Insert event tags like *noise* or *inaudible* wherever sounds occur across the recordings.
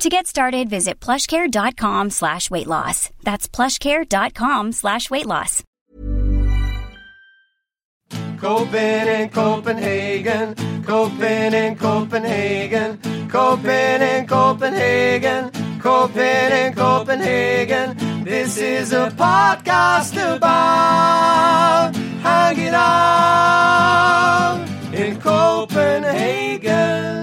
To get started, visit plushcare.com slash weight loss. That's plushcare.com slash weight loss. Coping in Copenhagen, coping in Copenhagen, coping in Copenhagen, coping in Copenhagen. This is a podcast about hanging out in Copenhagen.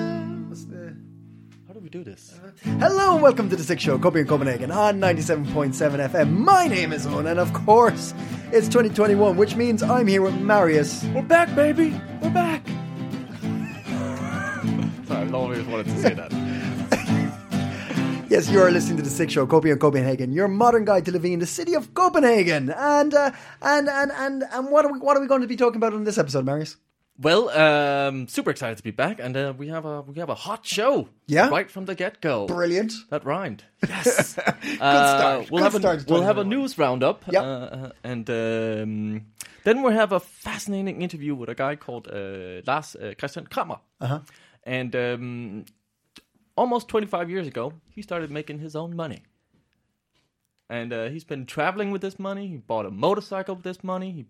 How do we do this? Hello and welcome to the Six Show, Copy in Copenhagen on 97.7 FM. My name is Owen, and of course, it's 2021, which means I'm here with Marius. We're back, baby. We're back. Sorry, I've always wanted to say that. Yes, you are listening to the Six Show, Copy in Copenhagen, your modern guide to living in the city of Copenhagen. And uh, and and and and what are we what are we going to be talking about on this episode, Marius? *laughs* Well, um, super excited to be back, and uh, we have a we have a hot show. Yeah. right from the get go. Brilliant. That rhymed. Yes. *laughs* Good start. Good we'll have start a to we'll have a 2021. news roundup. Yep. Uh, and um, then we'll have a fascinating interview with a guy called uh, Lars uh, Christian Kramer. Uh-huh. And um, almost 25 years ago, he started making his own money. And uh, he's been traveling with this money. He bought a motorcycle with this money. He,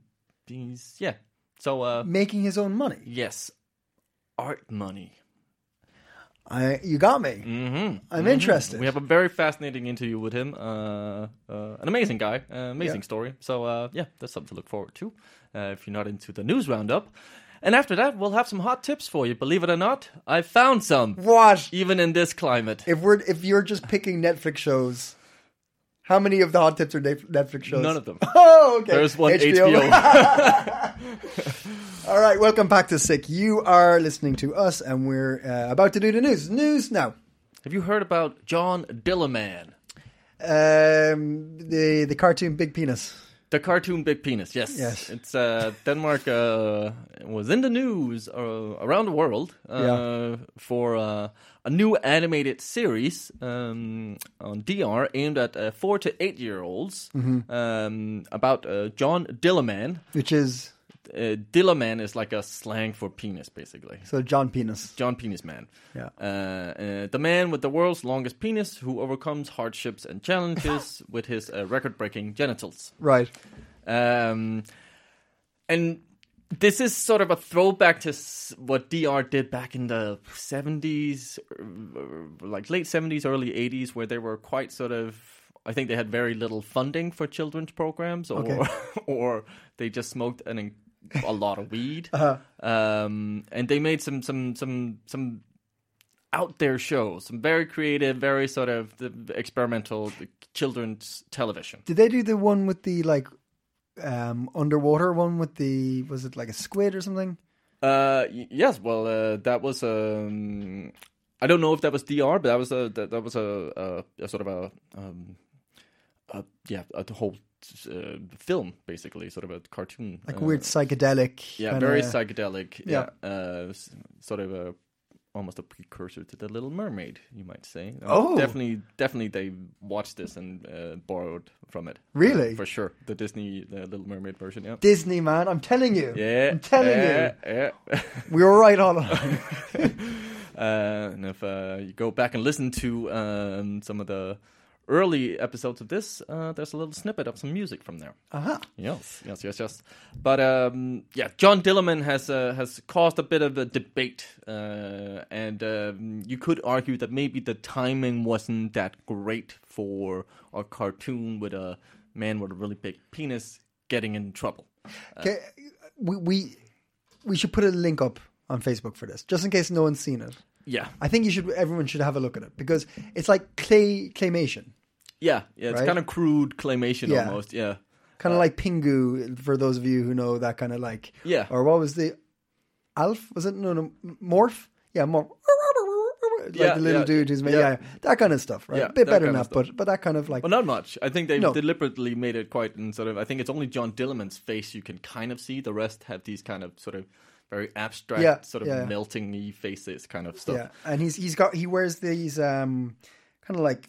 he's yeah. So uh, Making his own money. yes, art money. I, you got me. Mm-hmm. I'm interested. We have a very fascinating interview with him. Uh, uh, an amazing guy, uh, amazing story. So uh, yeah, that's something to look forward to uh, if you're not into the news roundup. And after that, we'll have some hot tips for you. Believe it or not, I found some, what? even in this climate. If we're if you're just picking Netflix shows, how many of the hot tips are Nef- Netflix shows? None of them. *laughs* Oh, okay. There's *laughs* one HBO. All right, welcome back to Sick. You are listening to us, and we're uh, about to do the news. News now. have you heard about John Dillerman, Um, the the cartoon Big Penis. the cartoon Big Penis? Yes, Yes. It's uh, Denmark uh, was in the news uh, around the world uh, Yeah. for uh, a new animated series um, on DR aimed at uh, four to eight year olds Mm-hmm. um, about uh, John Dillerman. which is Uh, Dillerman is like a slang for penis, basically. so John Penis. John Penis Man. Yeah. Uh, uh, the man with the world's longest penis who overcomes hardships and *laughs* challenges with his uh, record breaking genitals. Right. Um, and this is sort of a throwback to s- what DR did back in the 70s, uh, like late 70s, early 80s, where they were quite sort of. I think they had very little funding for children's programs, or Okay. *laughs* or they just smoked an, in- a lot of weed, um, and they made some some some some out there shows, some very creative, very sort of the experimental children's television. Did they do the one with the like um underwater one with the was it like a squid or something? Uh, y- yes. Well, uh, that was um, I don't know if that was DR, but that was a that, that was a, a, a sort of a um, a, yeah, a whole uh, film basically, sort of a cartoon, Like uh, a weird psychedelic. yeah, kinda- very psychedelic, Yeah. yeah, uh, s- sort of a almost a precursor to the Little Mermaid, you might say. Uh, Oh. definitely, definitely, they watched this and uh, borrowed from it. Really? Uh, for sure, the Disney the Little Mermaid version, yeah. Disney man, I'm telling you. yeah, I'm telling yeah, you. yeah. We were right all *laughs* along. Uh, and if uh, you go back and listen to um, some of the early episodes of this, uh, there's a little snippet of some music from there. uh-huh. Yes, yes, yes, yes. But um, yeah, John Dillerman has uh, has caused a bit of a debate, uh, and um, you could argue that maybe the timing wasn't that great for a cartoon with a man with a really big penis getting in trouble. Okay, we, we we should put a link up on Facebook for this, just in case no one's seen it. Yeah, I think you should everyone should have a look at it because it's like clay claymation. yeah, yeah. It's Right? kind of crude claymation Yeah. almost. Yeah. Kind Uh, of like Pingu for those of you who know that kind of like Yeah. or what was the Alf was it no no Morph yeah Morph like Yeah, the little yeah, dude who's made, yeah. yeah. yeah, that kind of stuff, right? Yeah, a bit that better kind enough, of stuff. but but that kind of like Well, not much. I think they've No. deliberately made it quite in sort of. I think it's only John Dillerman's face you can kind of see. The rest have these kind of sort of very abstract, Yeah, sort of yeah, yeah. melting faces kind of stuff. yeah, and he's he's got he wears these um kind of like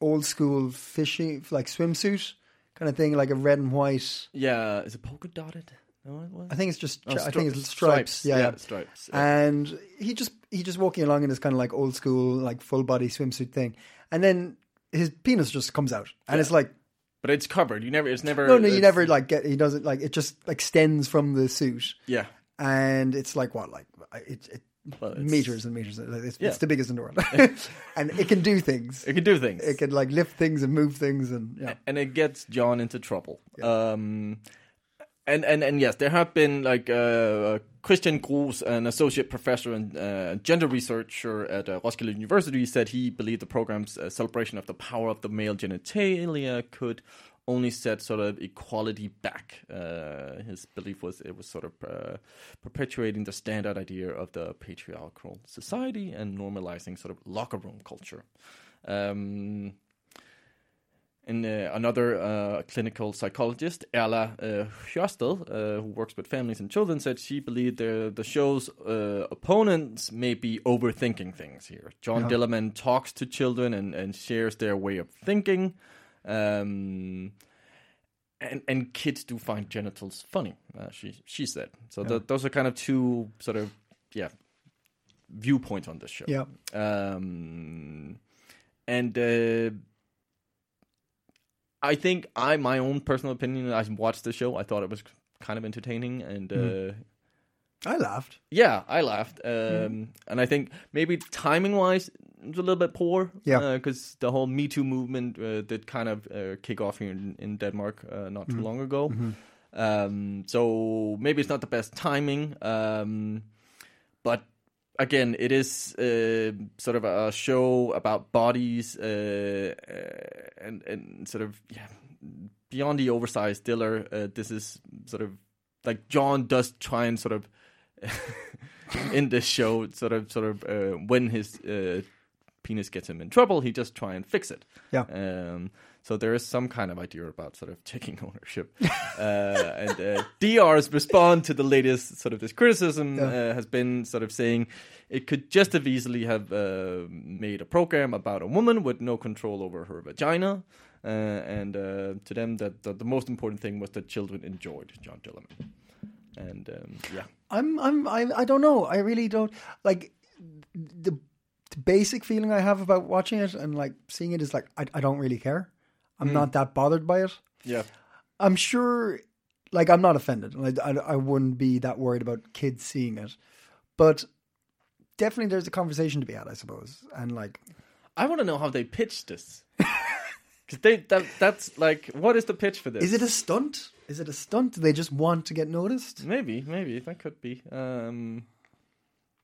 old school fishing like swimsuit kind of thing, like a red and white. Yeah, is it polka dotted? No, it was. I think it's just Oh, I stri- think it's stripes, yeah. yeah. stripes. Yeah. And he just he just walking along in this kind of like old school like full body swimsuit thing, and then his penis just comes out, and it's like but it's covered. You never. It's never. no no you it's- never like get he doesn't like it just extends from the suit, Yeah. and it's like what like it. it Well, it's- meters and meters. Like, It's, Yeah. it's the biggest in the *laughs* world, *laughs* and it can do things. It can do things. it can like lift things and move things and yeah and it gets John into trouble. Um, and, and and yes, there have been like uh, Christian Groos, an associate professor and uh, gender researcher at uh, Roskilde University, said he believed the program's uh, celebration of the power of the male genitalia could only set sort of equality back. Uh, his belief was it was sort of uh, perpetuating the standard idea of the patriarchal society and normalizing sort of locker room culture. Um, and uh, another uh, clinical psychologist, Erla uh, Hjørsted, uh, who works with families and children, said she believed the, the show's uh, opponents may be overthinking things here. John Dillerman talks to children and, and shares their way of thinking. Um, and, and kids do find genitals funny, uh, she, she said. So th- those are kind of two sort of, yeah, viewpoints on this show. yeah Um, and uh, I think I, my own personal opinion, I watched the show. I thought it was kind of entertaining, and uh, i laughed yeah, I laughed. Um, And I think maybe timing wise, it's a little bit poor. Yeah. because the whole Me Too movement uh, did kind of uh, kick off here in, in Denmark uh, not too long ago. Um, so maybe it's not the best timing. Um, but again, it is uh, sort of a show about bodies uh, uh, and and sort of yeah, beyond the oversized Diller. Uh, this is sort of like John does try and sort of in this show sort of sort of uh, when his uh, penis gets him in trouble, he just try and fix it. Yeah. Um, so there is some kind of idea about sort of taking *laughs* ownership, uh, and uh, DR's respond to the latest sort of this criticism uh, has been sort of saying it could just have easily have uh, made a program about a woman with no control over her vagina, uh, and uh, to them that the, the most important thing was that children enjoyed John Dillerman, and um, yeah, i'm i'm i, I don't know i really don't like the, the basic feeling i have about watching it and like seeing it is like i, I don't really care i'm Hmm. not that bothered by it yeah. i'm sure like i'm not offended like, I, I wouldn't be that worried about kids seeing it but definitely there's a conversation to be had i suppose and like I want to know how they pitched this. *laughs* Because they that that's like, what is the pitch for this? is it a stunt is it a stunt do they just want to get noticed maybe maybe that could be. Um,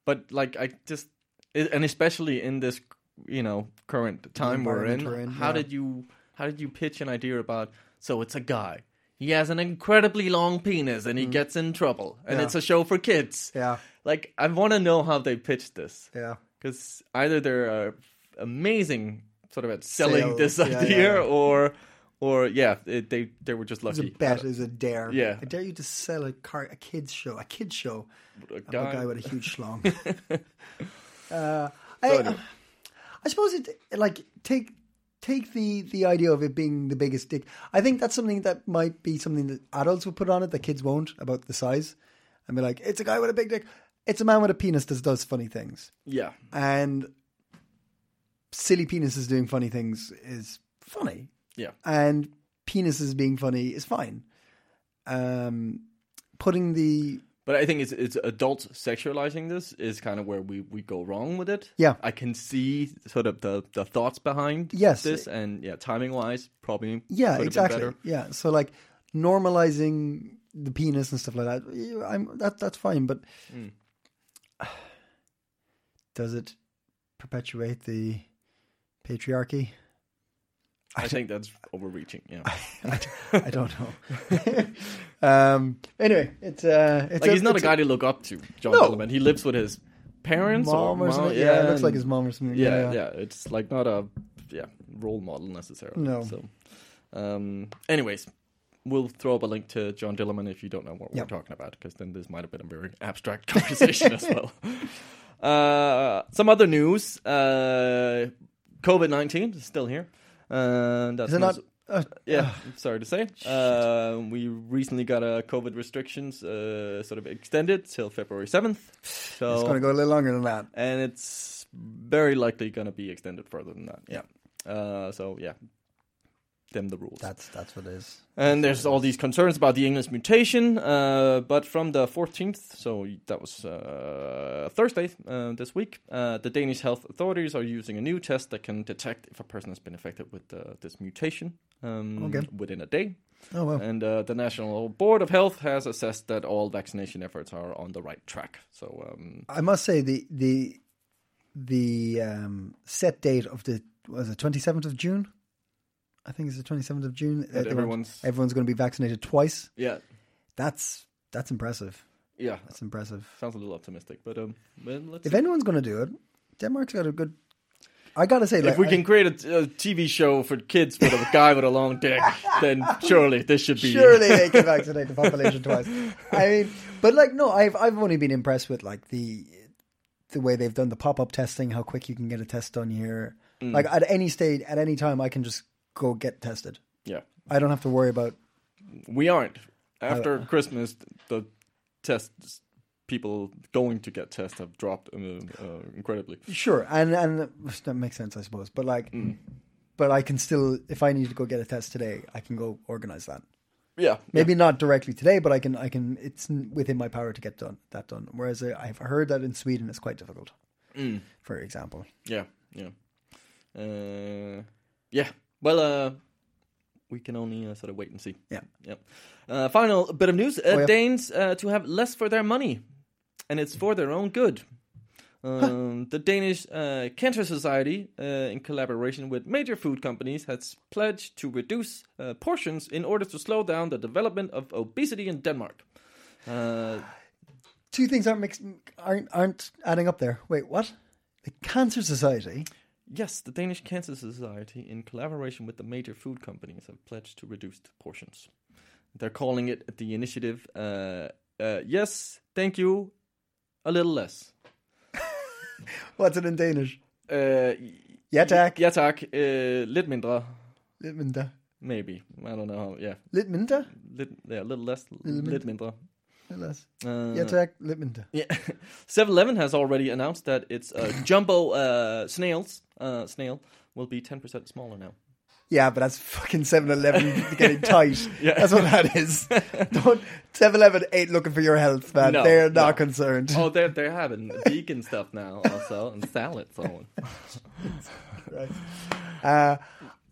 but like I just i- and especially in this you know current time we're in, environment we're in, how yeah. did you how did you pitch an idea about? So it's a guy. He has an incredibly long penis and he gets in trouble. Mm. And Yeah. it's a show for kids. yeah Like I want to know how they pitched this. yeah because either they're uh, amazing sort of at selling Sales, this yeah, yeah, idea or or yeah it, they they were just It was lucky a bet. It was a dare. Yeah. I dare you to sell a car, a kids show, a kids show. A of guy- a guy with a huge *laughs* schlong. uh, I, anyway. I suppose it like take take the the idea of it being the biggest dick. I think that's something that might be something that adults would put on it that kids won't about the size, and be like, it's a guy with a big dick. It's a man with a penis that does funny things, yeah and silly penises doing funny things is funny yeah and penises being funny is fine. Um, putting the but I think it's it's adults sexualizing this is kind of where we, we go wrong with it. Yeah. I can see sort of the, the thoughts behind Yes. this, and yeah, timing wise, probably yeah, could have been exactly, better. yeah. So like normalizing the penis and stuff like that. yeah, I'm that that's fine, but Mm. does it perpetuate the patriarchy? *laughs* I think that's overreaching. Yeah, I, I don't know. *laughs* um, anyway, it's uh, it's like he's not *laughs* a it's guy to look up to, John No. Dillerman. He lives with his parents mom or something. mom- yeah, it looks like his mom or something. yeah, yeah, It's like not a yeah role model necessarily. No. So, um, anyways, we'll throw up a link to John Dillerman if you don't know what Yep. we're talking about, because then this might have been a very abstract *laughs* conversation as *laughs* well. Uh, some other news: uh, COVID nineteen is still here. Uh, that's Is it not? Uh, yeah, I'm sorry to say. Uh, we recently got uh, COVID restrictions uh, sort of extended till February 7th. So Oh, it's going to go a little longer than that. and it's very likely going to be extended further than that. Yeah. Uh, so yeah, them the rules. That's that's what it is. and there's all these concerns about the English mutation. Uh, but from the 14th, so that was uh, Thursday uh, this week, uh, the Danish health authorities are using a new test that can detect if a person has been infected with uh, this mutation um, Okay. within a day. Oh well. And uh, the National Board of Health has assessed that all vaccination efforts are on the right track. So um, I must say the the the um, set date of the was it twenty seventh of June. I think it's the twenty seventh of June. That they want- everyone's everyone's going to be vaccinated twice. yeah That's that's impressive. yeah That's impressive. Sounds a little optimistic, but um, well, let's. If see. anyone's going to do it, Denmark's got a good. I gotta say, like, If we I- can create a, a TV show for kids with *laughs* a guy with a long dick, then surely this should be. surely they can vaccinate the population twice. I mean, but like, no, I've I've only been impressed with like the the way they've done the pop up testing, how quick you can get a test done here. Like at any stage, at any time, I can just go get tested. Yeah, I don't have to worry about. we aren't. After Uh, Christmas, the test people going to get tests have dropped um, uh, incredibly. Sure, and and that makes sense, I suppose. But like, but I can still, if I need to go get a test today, I can go organize that. Yeah, Maybe not directly today, but I can, I can. It's n- within my power to get done that done. Whereas I, I've heard that in Sweden it's quite difficult. Mm. For example, yeah, yeah, uh, yeah. Well, uh, we can only uh, sort of wait and see. yeah. Oh, Yep. Uh, final bit of news: uh, yeah. Danes uh, to have less for their money, and it's for their own good. Um, the Danish uh, Cancer Society, uh, in collaboration with major food companies, has pledged to reduce uh, portions in order to slow down the development of obesity in Denmark. Uh, Two things aren't mix, aren't aren't adding up there. Wait, what? The Cancer Society. yes, the Danish Cancer Society, in collaboration with the major food companies, have pledged to reduce the portions. They're calling it the initiative. Uh, uh, yes, thank you. A little less. What's it in Danish? Uh, Ja tak. Ja tak. Uh, lidt mindre, Litminda. maybe. I don't know. how- Yeah, Litminda. lidt, yeah, little less, Little lidt mindre. Yes. Uh, Ja tak. Litminda. Yeah. 7-Eleven has already announced that its uh, jumbo uh, snails uh, snail will be 10% smaller now. Yeah, but that's fucking *laughs* 7-Eleven getting tight. Yeah. That's what that *laughs* is. Don't 7-Eleven ain't looking for your health, man. No, They're not *laughs* no. concerned. Oh, they're they're having vegan stuff now also and salad so on. Uh,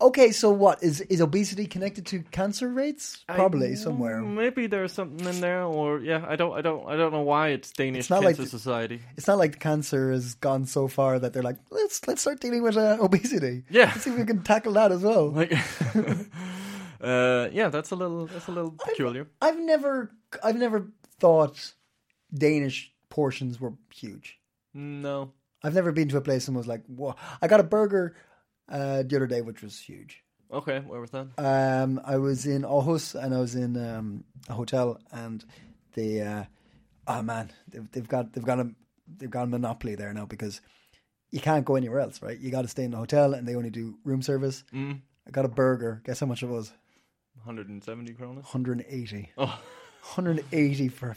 okay, so what is is obesity connected to cancer rates? Probably I- somewhere. Maybe there's something in there, or yeah, I don't, I don't, I don't know why it's Danish not Cancer like th- Society. *laughs* It's not like the cancer has gone so far that they're like, let's let's start dealing with uh, *laughs* obesity. Yeah. let's see if we can tackle that as well. Like, *laughs* uh, yeah, that's a little, that's a little peculiar. I've never I've never thought Danish portions were huge. No, I've never been to a place and was like, "Whoa!" I got a burger uh, the other day, which was huge. Okay, where was that? Um, I was in Aarhus and I was in um, a hotel, and they, uh, oh man, they've, they've got they've got a they've got a monopoly there now because you can't go anywhere else, right? You got to stay in the hotel, and they only do room service. Mm. I got a burger. Guess how much it was? 170 kronas. 180. Oh, 180 for a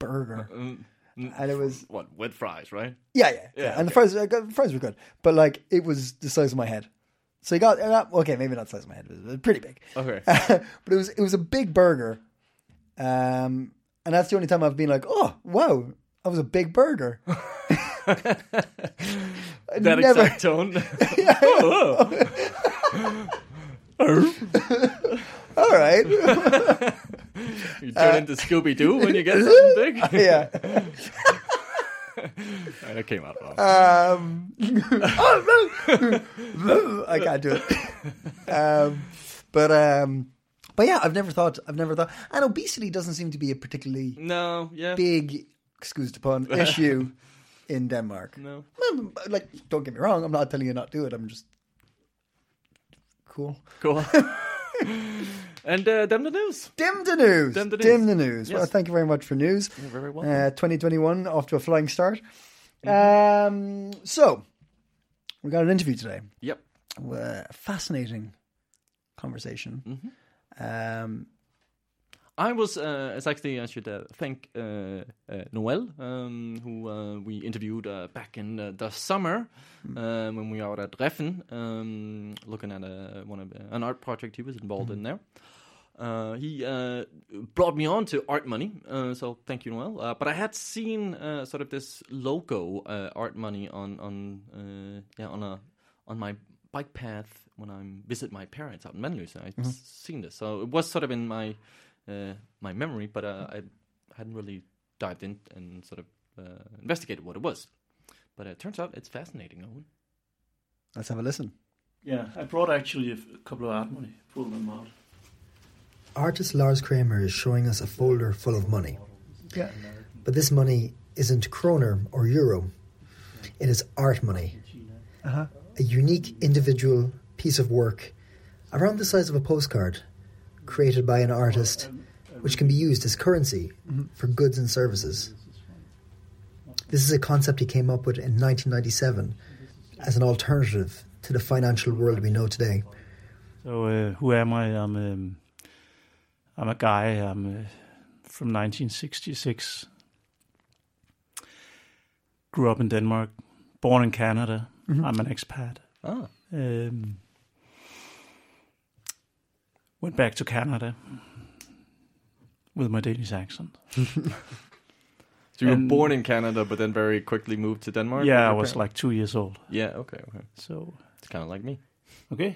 burger. mm, mm, And it was what with fries, right? Yeah, yeah, yeah. Yeah, And the fries, uh, the fries were good, but like it was the size of my head. So you got uh, okay, maybe not the size of my head, but it was pretty big. Okay. *laughs* but it was it was a big burger, um, and that's the only time I've been like, oh wow, that was a big burger. I That never- exact tone. *laughs* Oh, oh. All right, *laughs* you Uh, turn into Scooby Doo when you *laughs* get something big. *laughs* yeah. that came out wrong. Um, *laughs* Oh, I can't do it. *laughs* Um, but um, but yeah, I've never thought, I've never thought, and obesity doesn't seem to be a particularly no, yeah, big, excuse the pun, issue in Denmark. No. Well, Like, don't get me wrong. I'm not telling you not to do it. I'm just cool. *laughs* Cool. and uh, them the news. Dim the news. Dim the news. Dim the news. Yes. Well, thank you very much for news. You're very welcome. Uh, 2021 off to a flying start. Mm-hmm. Um, so, we got an interview today. Yep. Uh, fascinating mm-hmm. conversation. Um, I was. Uh, it's actually I should uh, thank uh, uh, Noel, um, who uh, we interviewed uh, back in uh, the summer uh, when we were at Reffen, um, looking at a, one of an art project he was involved in there. Uh, he uh, brought me on to Art Money, uh, so thank you, Noel. Uh, but I had seen uh, sort of this logo, uh, Art Money, on on uh, yeah on a on my bike path when I visit my parents out in Menlo. So I've seen this, so it was sort of in my uh, my memory, but uh, I hadn't really dived in and sort of uh, investigated what it was. But uh, it turns out it's fascinating, Owen. let's have a listen. Yeah, I brought actually a f- a couple of art money, pulled them out. Artist Lars Kramer is showing us a folder full of money. Yeah. But this money isn't kroner or euro, it is art money. A unique individual piece of work around the size of a postcard created by an artist, which can be used as currency for goods and services. This is a concept he came up with in 1997 as an alternative to the financial world we know today. So uh, who am I? I'm um, I'm a guy. I'm uh, from 1966. Grew up in Denmark, born in Canada. I'm an expat. Ah, Um, went back to Canada with my Danish accent. so you were And- born in Canada, but then very quickly moved to Denmark. with yeah, I your was parents? like two years old. yeah, okay, okay. So It's kind of like me. okay.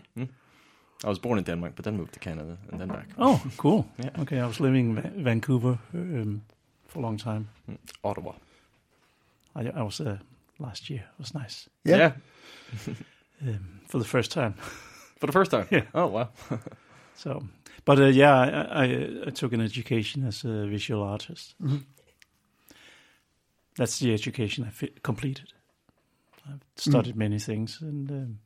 I was born in Denmark, but then moved to Canada and then back. Oh, cool. Yeah. Okay, I was living in Va- Vancouver um, for a long time. Ottawa. I, I was there last year. It was nice Yeah. um, for the first time. *laughs* for the first time. Yeah. Oh wow. *laughs* So, but uh, yeah, I, I, I took an education as a visual artist. That's the education I fi- completed. I've studied many things, and um,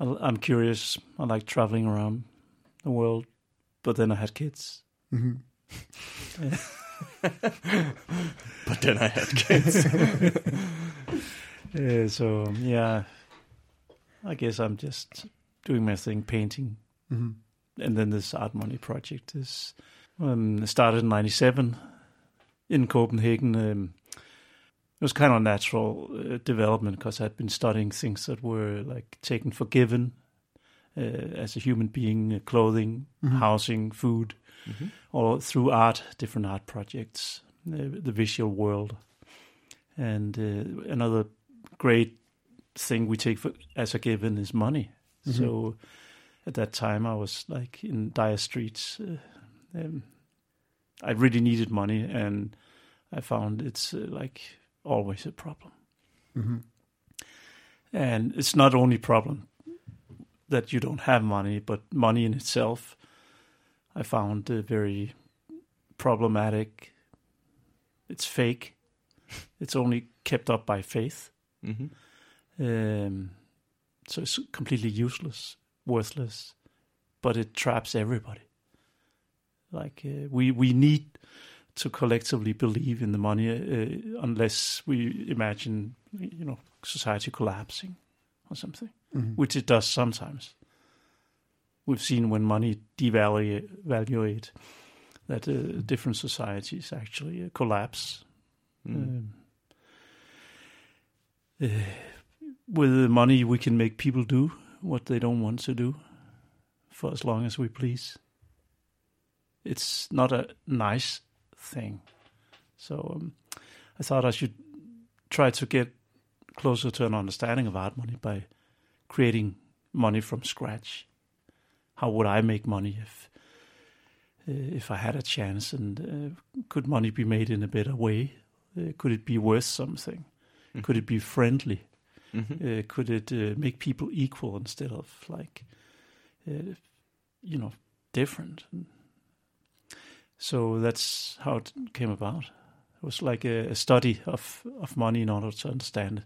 I, I'm curious. I like traveling around the world, but then I had kids. Mm-hmm. But then I had kids. Yeah, so um, yeah, I guess I'm just doing my thing, painting, and then this art money project is um, started in '97 in Copenhagen. Um, it was kind of natural uh, development because I'd been studying things that were like taken for given uh, as a human being: uh, clothing, housing, food, all through art, different art projects, uh, the visual world, and uh, another great thing we take for, as a given is money. So at that time, I was like in dire streets. Uh, um, I really needed money, and I found it's uh, like always a problem. And it's not only problem that you don't have money, but money in itself, I found uh, very problematic. It's fake. It's only kept up by faith. mm-hmm. Um, so it's completely useless, worthless, but it traps everybody. Like uh, we we need to collectively believe in the money, uh, unless we imagine you know society collapsing or something, Mm. Mm-hmm. which it does sometimes. We've seen when money devaluate valuate, that uh, different societies actually uh, collapse. Um, uh, with the money we can make people do what they don't want to do for as long as we please. It's not a nice thing. So um, I thought I should try to get closer to an understanding of art money by creating money from scratch. How would I make money if uh, if I had a chance? And uh, could money be made in a better way? Uh, could it be worth something? Could it be friendly? Mm-hmm. Uh, could it uh, make people equal instead of like, uh, you know, different? So that's how it came about. It was like a, a study of, of money in order to understand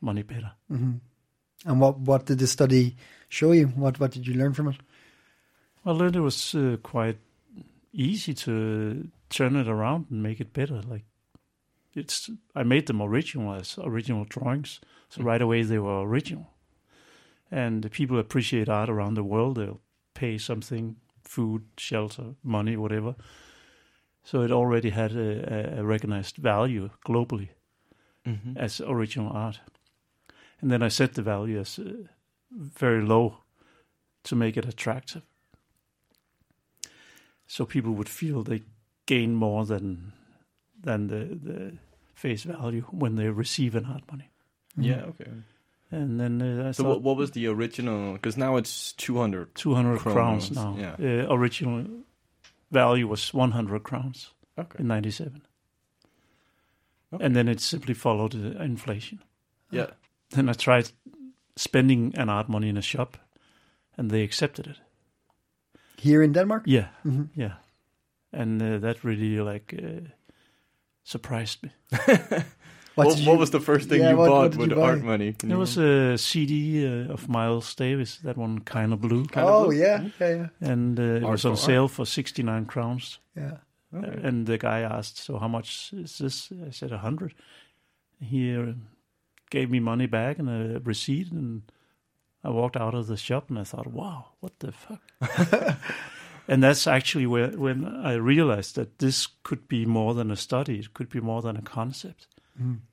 money better. Mm-hmm. And what what did the study show you? What what did you learn from it? I learned it was uh, quite easy to turn it around and make it better. Like it's, I made them original as original drawings, so right away they were original. And the people appreciate art around the world. They'll pay something, food, shelter, money, whatever. So it already had a, a- a recognized value globally Mm-hmm. as original art. And then I set the value as uh, very low to make it attractive. So people would feel they gain more than than the, the face value when they receive an art money. Yeah. Okay. And then uh, I So thought what, what was the original? Because now it's two hundred. 200 Kronos, crowns now. yeah. Uh, original value was 100 crowns Okay. in 97. Okay. And then it simply followed uh, inflation. Yeah. Then I tried spending an art money in a shop and they accepted it. Here in Denmark? Yeah, Mm-hmm. yeah, and uh, that really like uh, surprised me. What, what, did what you- was the first thing Yeah, you what- what bought did with you buy? art money? Can There you- was a CD uh, of Miles Davis, that one kind of blue, kind of oh Mm-hmm. blue? yeah, yeah, yeah, and uh, it Art was for on art. sale for sixty nine crowns. yeah. Okay. And the guy asked, "So how much is this?" I said, "A hundred. He uh, gave me money back and a receipt, and I walked out of the shop and I thought, "Wow, what the fuck." and that's actually where when I realized that this could be more than a study. It could be more than a concept.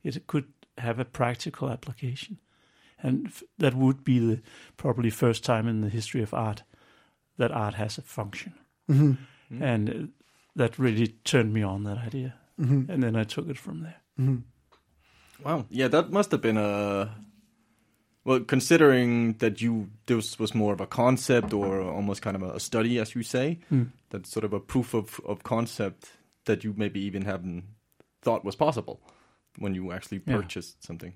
It could have a practical application, and f- that would be the probably first time in the history of art that art has a function. And uh, that really turned me on that idea. Mm-hmm. And then I took it from there. Wow. Yeah, that must have been a. Well, considering that you this was more of a concept or almost kind of a study, as you say, Hmm. that's sort of a proof of of concept that you maybe even hadn't thought was possible when you actually Yeah. purchased something.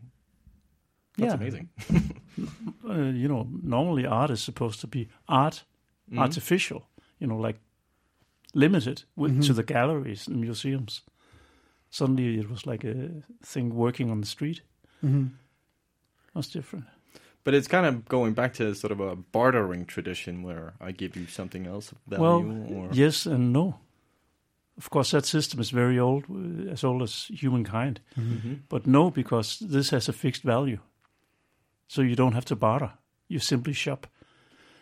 That's amazing. Uh, you know, normally art is supposed to be art, Mm-hmm. artificial, you know, like limited with, Mm-hmm. to the galleries and museums. Suddenly it was like a thing working on the street. Mm-hmm. That's different. But it's kind of going back to sort of a bartering tradition where I give you something else of Well, value. or... yes and no. Of course, that system is very old, uh, as old as humankind. Mm-hmm. But no, because this has a fixed value. So you don't have to barter. You simply shop.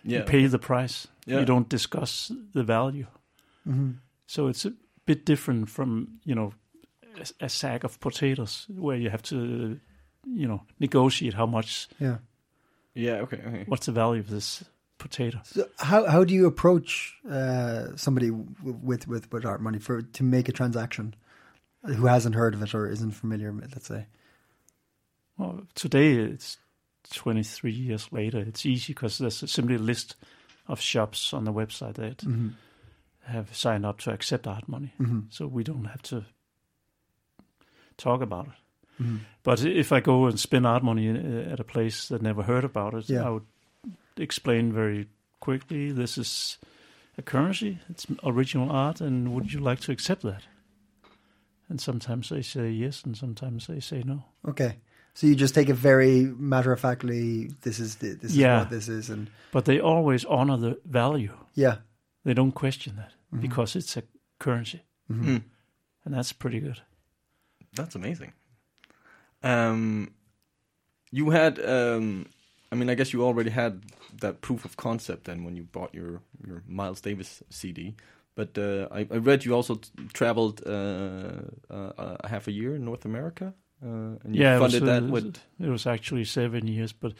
yeah. You pay the price. Yeah. Mm-hmm. You don't discuss the value. So it's a bit different from, you know, a, a sack of potatoes where you have to, you know, negotiate how much, yeah. yeah. Okay. Okay. what's the value of this potato. So how how do you approach uh, somebody w- with with with art money for to make a transaction who hasn't heard of it or isn't familiar? with it, Let's say. Well, today it's 23 years later. It's easy because there's simply a list of shops on the website that have signed up to accept art money. So we don't have to talk about it. But if I go and spend art money uh, at a place that never heard about it, Yeah. I would explain very quickly this is a currency, it's original art, and would you like to accept that? And sometimes they say yes, and sometimes they say no. Okay, so you just take it very matter of factly. This is the, this is Yeah. what this is, and But they always honor the value. yeah, Mm-hmm. They don't question that Mm-hmm. because it's a currency. Hmm. Mm. And that's pretty good. That's amazing. Um, you had, um, I mean, I guess you already had that proof of concept then when you bought your, your Miles Davis CD. But uh, I, I read you also t- traveled uh, uh, a half a year in North America, uh, and you yeah, funded it was, uh, that with it was actually seven years, but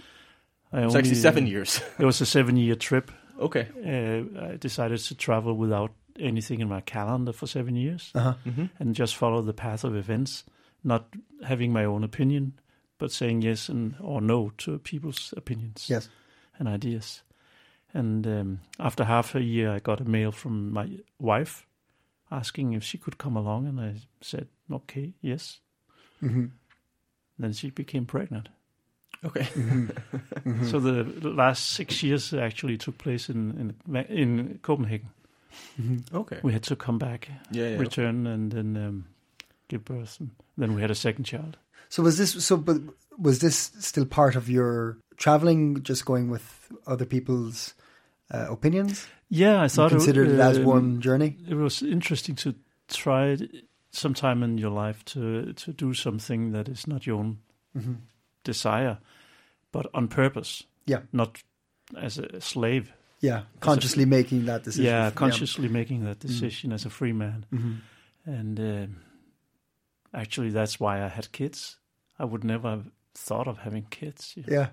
I it's only, uh, actually seven years. *laughs* It was a seven-year trip. okay, Uh, I decided to travel without anything in my calendar for seven years, Uh-huh. Mm-hmm. and just follow the path of events, not having my own opinion, but saying yes and or no to people's opinions. yes, and ideas. And um, after half a year, I got a mail from my wife asking if she could come along, and I said, "Okay, yes." Mm-hmm. Then she became pregnant. okay, So the the last six years actually took place in in, Ma- in Copenhagen. okay. We had to come back, Yeah, yeah. return, and then um, give birth, and then we had a second child. So was this so? But was this still part of your traveling? Just going with other people's uh, opinions? Yeah, I You thought considered it as um, one journey. It was interesting to try it sometime in your life to to do something that is not your own Mm-hmm. desire, but on purpose. Yeah. not as a slave. Yeah, consciously making that decision. Mm. Yeah, consciously making that decision as a free man. And um actually, that's why I had kids. I would never have thought of having kids. you know. Yeah,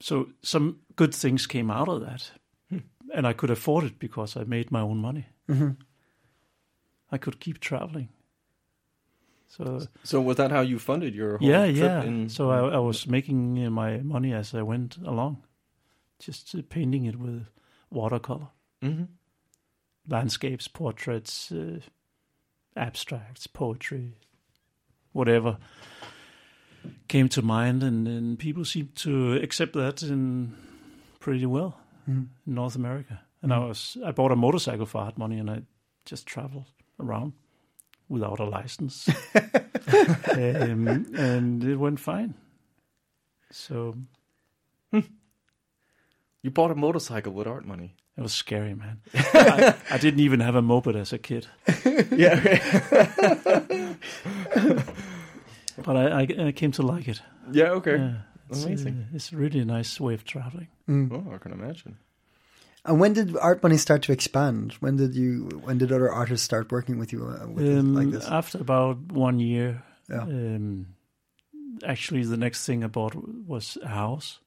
So some good things came out of that, Hmm. and I could afford it because I made my own money. Mm-hmm. I could keep traveling. So So was that how you funded your whole yeah, trip? yeah. in- So I, I was making uh, my money as I went along, just uh, painting it with watercolor. Mhm. landscapes, portraits, uh, abstracts, poetry, whatever came to mind, and, and people seemed to accept that in pretty well in North America. And I was I bought a motorcycle for hard money, and I just traveled around without a license, um, and it went fine. So you bought a motorcycle with art *laughs* money. it was scary, man. I, I didn't even have a moped as a kid. yeah, But I, I, I came to like it. *laughs* yeah, okay. Yeah, it's, Amazing. uh, it's a really nice way of traveling. Oh, I can imagine. and when did Art Money start to expand? When did you? When did other artists start working with you uh, with Um, like this? After about one year, Yeah. um, actually, the next thing I bought was a house.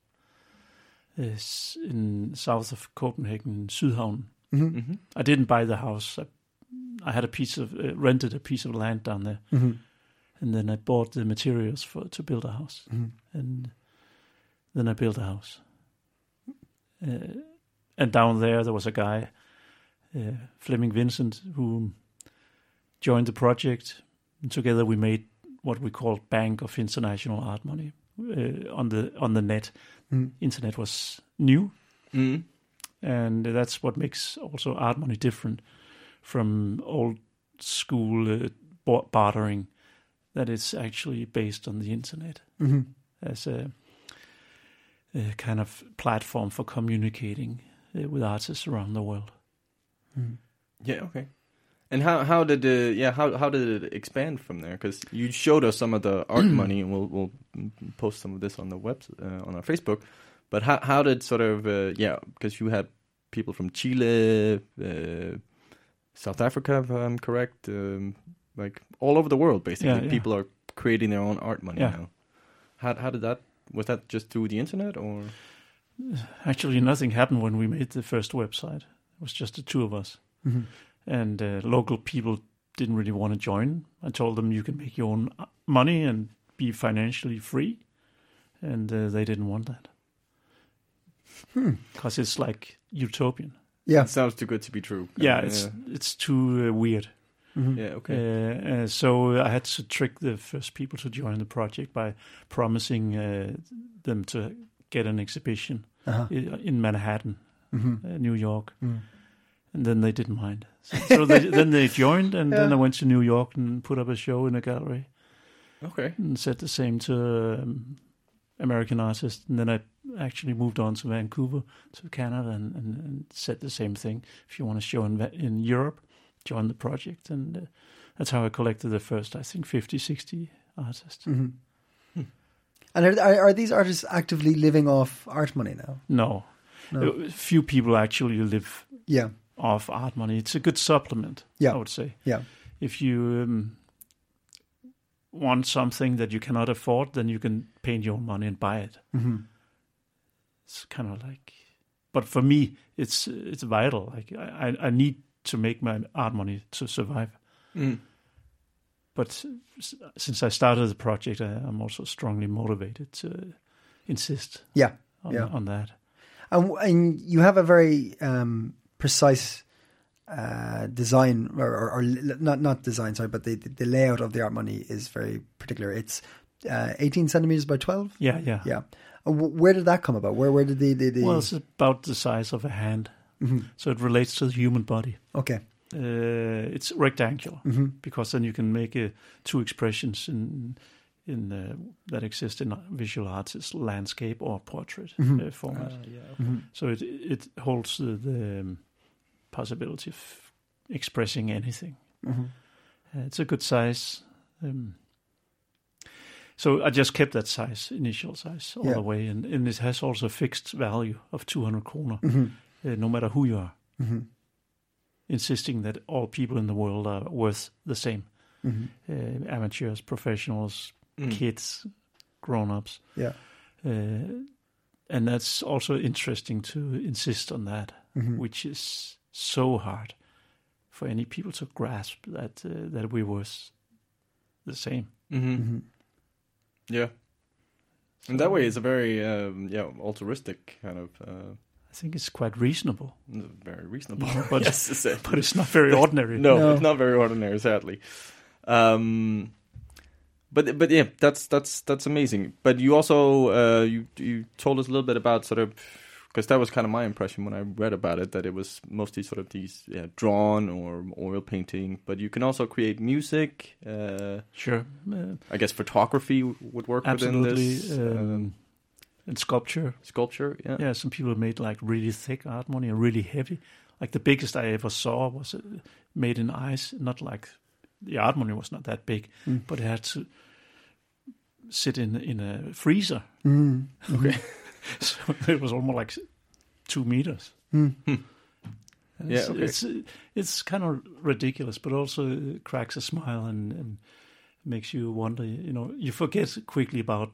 It's in south of Copenhagen, Sydhavn. hmm I didn't buy the house. I, I had a piece of uh, rented a piece of land down there, Mhm. and then I bought the materials for to build a house, and then I built a house. Uh, and down there, there was a guy, uh, Fleming Vincent, who joined the project. And together, we made what we called Bank of International Art Money uh, on the on the net. Internet was new mm and that's what makes also art money different from old school uh, bar- bartering that it's actually based on the internet Mm-hmm. as a, a kind of platform for communicating uh, with artists around the world Yeah, okay. And how how did uh, yeah how how did it expand from there? Because you showed us some of the *clears throat* art money, and we'll we'll post some of this on the web uh, on our Facebook. But how how did sort of uh, yeah because you had people from Chile, uh, South Africa, if I'm correct, um, like all over the world basically. yeah. People are creating their own art money Yeah. now. How how did that was that just through the internet or actually nothing happened when we made the first website it was just the two of us Mm-hmm. and uh, local people didn't really want to join i told them you can make your own uh, money and be financially free and uh, they didn't want that because it's like utopian yeah, it sounds too good to be true? yeah it's it's too uh, weird Mm-hmm. yeah okay uh, uh, so I had to trick the first people to join the project by promising uh, them to get an exhibition Uh-huh. i in Manhattan, Mm-hmm. uh, New York, and then they didn't mind. So, so they, then they joined, and then I went to New York and put up a show in a gallery okay and said the same to um, American artists. And then I actually moved on to Vancouver, to Canada, and, and, and said the same thing. If you want to show in, Va- in Europe, join the project. And uh, that's how I collected the first, I think, 50, 60 artists. Hmm. Mm-hmm. and are, are are these artists actively living off art money now? No. Uh, Few people actually live Yeah, off art money. It's a good supplement, Yeah. I would say. yeah, If you um, want something that you cannot afford, then you can paint your own money and buy it. Mm-hmm. It's kind of like, but for me, it's it's vital. Like I, I- I need to make my art money to survive. Mm. But s- since I started the project, I, I'm also strongly motivated to insist yeah. on, Yeah. on that. And, and you have a very um, precise uh, design, or, or, or l- not not design, sorry, but the, the layout of the art money is very particular. It's uh, 18 centimeters by 12. Yeah, yeah, Yeah. And wh- Where did that come about? Where where did the the, the Well, it's about the size of a hand, so it relates to the human body. okay? uh, it's rectangular because then you can make uh, two expressions in in uh, that exist in visual arts: it's landscape or portrait uh, format. Mm-hmm. So it it holds the, the um, possibility of expressing anything. Mm-hmm. Uh, it's a good size. Um, so I just kept that size, initial size, all Yeah. the way, and, and it has also a fixed value of 200 kroner, Mm-hmm. uh, no matter who you are. Insisting that all people in the world are worth the same Mm-hmm. uh, amateurs, professionals, Hmm. Mm. kids, grown ups. Yeah. Uh, and that's also interesting to insist on that, Mm-hmm. Hmm. which is so hard for any people to grasp that uh, that we were s- the same. Mm-hmm. Mm-hmm. Mm-hmm. Yeah. In that way, it's a very um, yeah altruistic kind of uh, I think it's quite reasonable, *laughs* very reasonable. But- yes, it's a- but it's not very ordinary. *laughs* no, No. it's not very ordinary, sadly. Um, but but yeah, that's that's that's amazing. But you also uh, you you told us a little bit about sort of because that was kind of my impression when I read about it that it was mostly sort of these yeah, drawn or oil painting. But you can also create music. Uh, sure, uh, I guess photography would work absolutely, within this um, um, and sculpture. sculpture. Yeah. Yeah, some people made like really thick art money and really heavy. Like the biggest I ever saw was uh, made in ice. Not like the art money was not that big, but it had to sit in in a freezer. Okay, *laughs* so it was almost like two meters. And Hmm. Yeah, it's, okay. it's it's kind of ridiculous, but also cracks a smile and, and makes you wonder. You know, you forget quickly about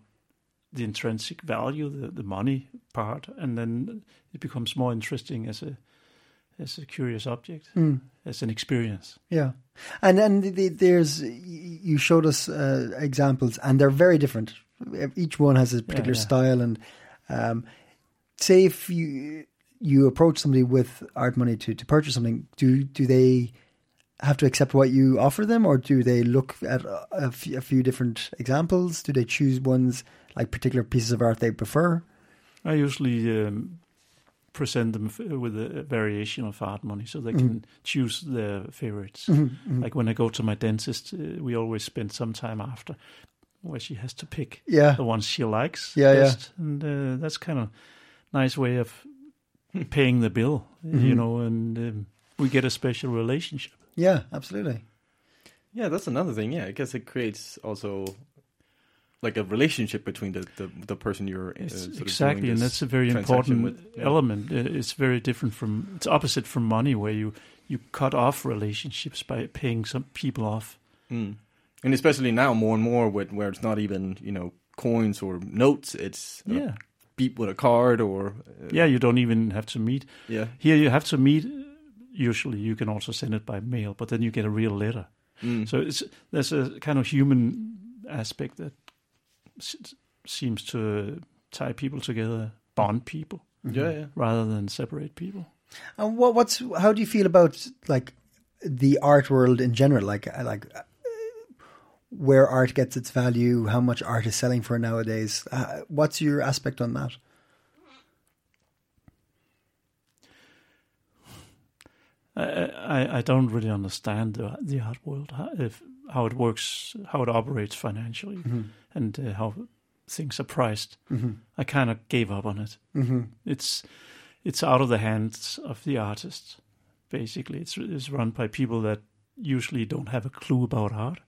the intrinsic value, the, the money part, and then it becomes more interesting as a as a curious object, as an experience. Yeah, and and the, the, there's y- you showed us uh, examples, and they're very different. Each one has a particular yeah. style, and um, say if you you approach somebody with art money to, to purchase something, do do they have to accept what you offer them, or do they look at a, a few, a few different examples? Do they choose ones like particular pieces of art they prefer? I usually um, present them f- with a variation of art money, so they can choose their favorites. Mm-hmm, Mm. Like when I go to my dentist, uh, we always spend some time after where she has to pick Yeah, the ones she likes. Yeah, yeah. And uh, that's kind of nice way of Hmm. paying the bill, Mm-hmm. you know, and um, we get a special relationship. yeah, absolutely. Yeah, that's another thing. Yeah, I guess it creates also like a relationship between the the, the person you're uh, It's sort of exactly, doing and this that's a very transaction important with, yeah. element. Uh, It's very different from it's opposite from money, where you you cut off relationships by paying some people off. Mm. And especially now, more and more, with where it's not even you know coins or notes, it's a Yeah, beep with a card or uh, yeah, you don't even have to meet. yeah. Here you have to meet. Usually, you can also send it by mail, but then you get a real letter. Mm. So it's there's a kind of human aspect that s- seems to tie people together, bond people, yeah, yeah. rather than separate people. And what, what's how do you feel about like the art world in general? Like uh, like uh, where art gets its value, how much art is selling for nowadays? Uh, what's your aspect on that? I, I, I don't really understand the, the art world, how, if, how it works, how it operates financially, and uh, how things are priced. I kind of gave up on it. Mm-hmm, It's it's out of the hands of the artist, basically. It's, it's run by people that usually don't have a clue about art,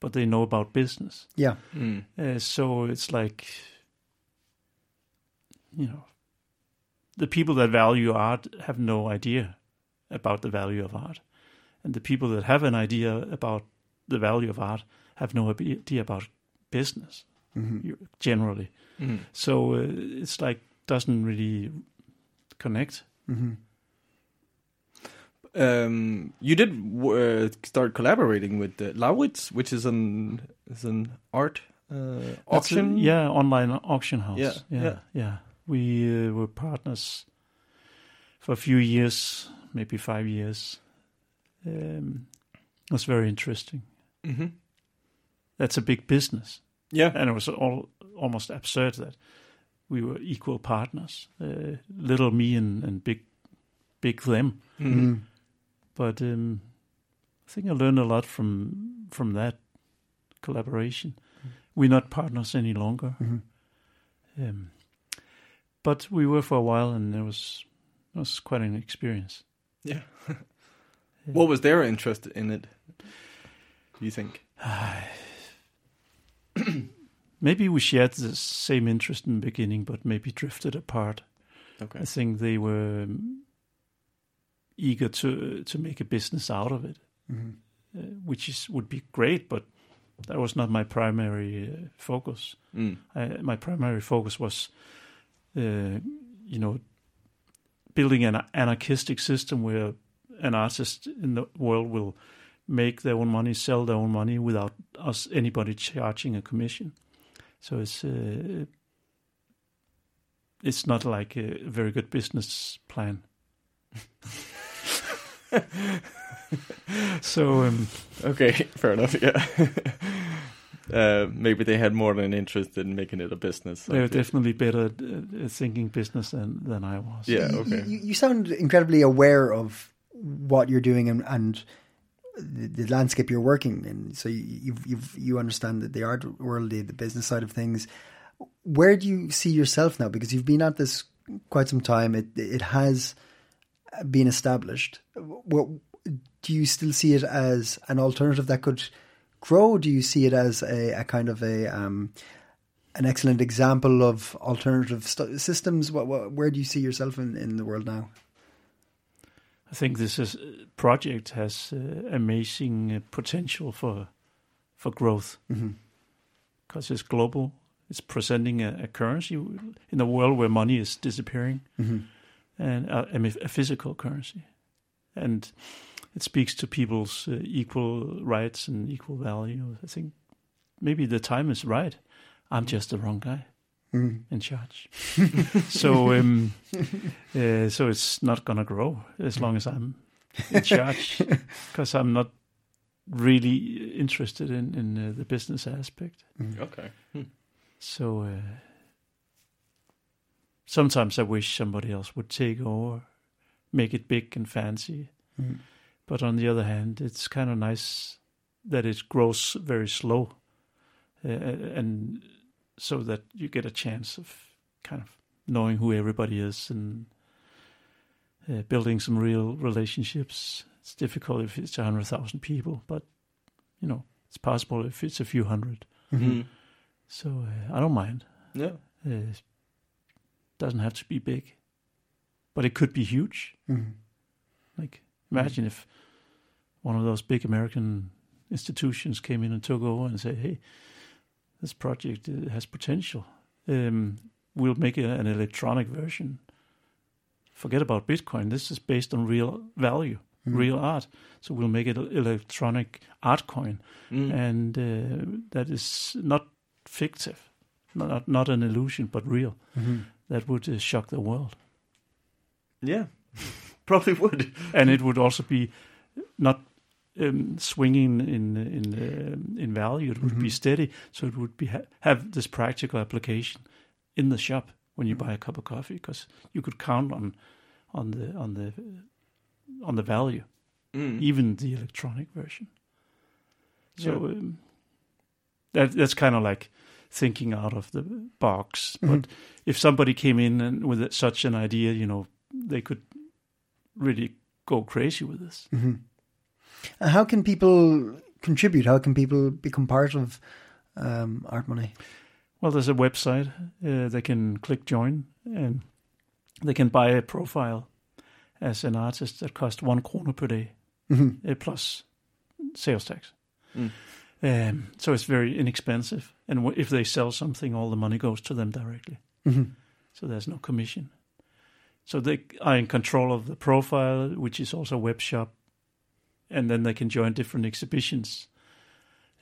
but they know about business. Yeah, Mm. Uh, so it's like, you know, the people that value art have no idea about the value of art. And the people that have an idea about the value of art have no idea about business mm-hmm, you- generally. Mm. So uh, it's like, doesn't really connect. mm-hmm. Um, you did uh, start collaborating with uh, Lawitz, which is an is an art uh, That's a- auction. yeah, online auction house. Yeah, yeah, yeah. yeah. We uh, were partners for a few years, maybe five years. Um, it was very interesting. hmm That's a big business, yeah, and it was all almost absurd that we were equal Mm-hmm, partners, uh, little me and, and big, big them. Mhm. But um, I think I learned a lot from from that collaboration. We're not partners any longer. Um, but we were for a while, and it was it was quite an experience. Yeah. what was their interest in it? Do you think? Maybe we shared the same interest in the beginning, but maybe drifted apart. Okay. I think they were um, eager to to make a business out of it, mm-hmm. uh, which is would be great, but that was not my primary uh, focus. Mm. I, my primary focus was, uh, you know, building an anarchistic system where an artist in the world will make their own money, sell their own money without us anybody charging a commission. So it's uh, it's not like a very good business plan. *laughs* so um, Okay, *laughs* fair enough. Yeah. uh, maybe they had more than an interest in making it a business. they were Okay. definitely better at, at thinking business than, than I was. Yeah. You- Okay. *laughs* You, you sound incredibly aware of what you're doing and, and the, the landscape you're working in. So you you've, you've, you understand that the art world, the, the business side of things. Where do you see yourself now? Because you've been at this quite some time. It it has been established. What, do you still see it as an alternative that could grow? Do you see it as a, a kind of a um, an excellent example of alternative st- systems. What, what, where do you see yourself in, in the world now? I think this is, uh, project has uh, amazing uh, potential for for growth because it's global. It's presenting a, a currency in a world where money is disappearing, and uh, I mean, a physical currency, and it speaks to people's uh, equal rights and equal value. I think maybe the time is right. I'm just the wrong guy Mm-hmm. in charge. *laughs* so um, *laughs* uh, so it's not gonna grow as long as I'm in charge because I'm not really interested in in uh, the business aspect. Okay. Hmm. So uh, sometimes I wish somebody else would take over, make it big and fancy. But on the other hand, it's kind of nice that it grows very slow, uh, and so that you get a chance of kind of knowing who everybody is and uh, building some real relationships. It's difficult if it's a hundred thousand people, but you know it's possible if it's a few hundred. Mm. Mm-hmm. So uh, I don't mind. Yeah. Uh, doesn't have to be big, but it could be huge. Like imagine if one of those big American institutions came in and took over and said, "Hey, this project uh, has potential. Um, we'll make a, an electronic version. Forget about Bitcoin. This is based on real value, real art. So we'll make it an electronic art coin, Mm. and uh, that is not fictive, not not an illusion, but real. That would uh, shock the world, *laughs* Yeah. Probably would. and it would also be not um, swinging in in um in value. It would be steady, so it would be ha- have this practical application in the shop when you buy a cup of coffee, because you could count on on the on the on the value, Hmm. Mm. even the electronic version. So Yeah. um, that that's kind of like thinking out of the box. But if somebody came in and with such an idea, you know, they could really go crazy with this. And how can people contribute? How can people become part of um, Art Money? Well, there's a website. Uh, they can click join and they can buy a profile as an artist that costs one kroner per day uh, plus sales tax. Um, so it's very inexpensive. And w- if they sell something, all the money goes to them directly. So there's no commission. So they are in control of the profile, which is also a web shop. And then they can join different exhibitions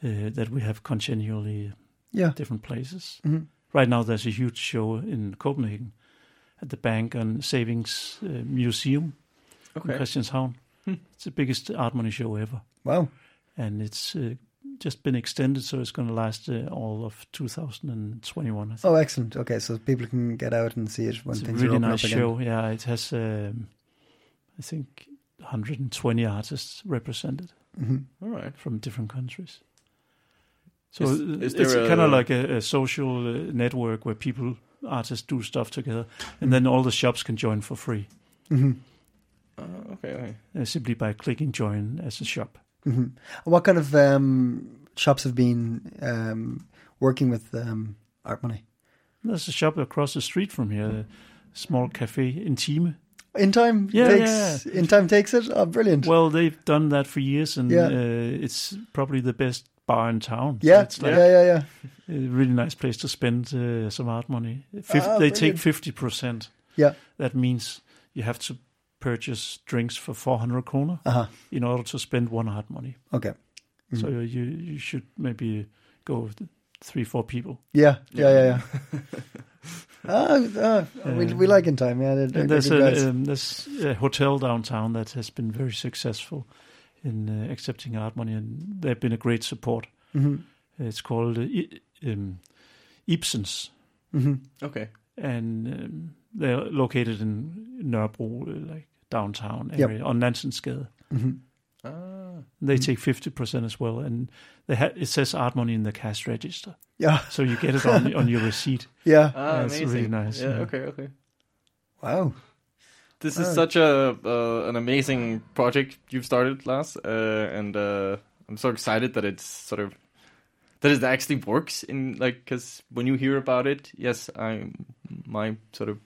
uh, that we have continually Yeah, different places. Mm-hmm. Right now, there's a huge show in Copenhagen at the Bank and Savings uh, Museum in Okay. Christianshavn. Hmm. It's the biggest art money show ever, wow. and it's uh, just been extended, so it's going to last uh, all of 2021. I think. Oh, excellent. Okay, so people can get out and see it when it's a things are really open nice up again. show. Yeah, it has, um, I think, 120 artists represented Mm-hmm. All right. from different countries. So Is- uh, is it's there kind a- of like a, a social uh, network where people, artists, do stuff together, Mm. and then all the shops can join for free Uh, okay. okay. uh, simply by clicking join as a shop. What kind of um, shops have been um, working with um, Art Money? There's a shop across the street from here, a small cafe Intime. In time Yeah, takes in time takes it. Oh, brilliant! Well, they've done that for years, and Yeah. uh, it's probably the best bar in town. yeah, it's like yeah, yeah, yeah. a really nice place to spend uh, some art money. Fif- Ah, they take brilliant. fifty percent. Yeah. that means you have to purchase drinks for four hundred kroner Uh-huh. in order to spend one art money. Okay. Mm-hmm. So you you should maybe go with three four people. Yeah, yeah, yeah, yeah. Ah, ah, we, we like in time. Yeah, they're, they're And there's good guys. a, um, there's a hotel downtown that has been very successful in uh, accepting art money, and they've been a great support. Mm-hmm. It's called uh, I- um, Ibsen's, Mm-hmm. Okay. and um, they're located in Nørrebro, uh, like downtown Yep. area on Nansensgade. Mm-hmm. Ah. They take fifty percent as well, and they ha- it says art money in the cash register, yeah, so you get it on on your *laughs* receipt. yeah. ah Yeah, it's amazing. really nice, Yeah, yeah. Okay. Okay. Wow. This is such a uh, an amazing project you've started, Lars, uh, and uh, I'm so excited that it's sort of that it actually works in like because when you hear about it, yes, I my sort of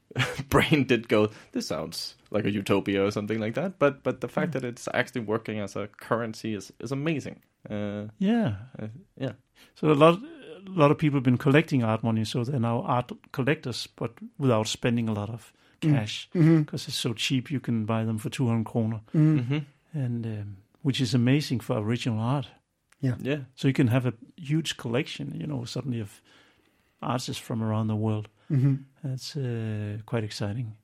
*laughs* brain did go. This sounds like a utopia or something like that, but but the fact that it's actually working as a currency is is amazing. Uh, Yeah, uh, yeah. So a lot, a lot of people have been collecting art money, so they're now art collectors, but without spending a lot of Mm. cash because Mm-hmm. it's so cheap. You can buy them for two hundred kroner, Mhm. and um, which is amazing for original art. Yeah. So you can have a huge collection, you know, suddenly of artists from around the world. Mm-hmm. That's uh, quite exciting.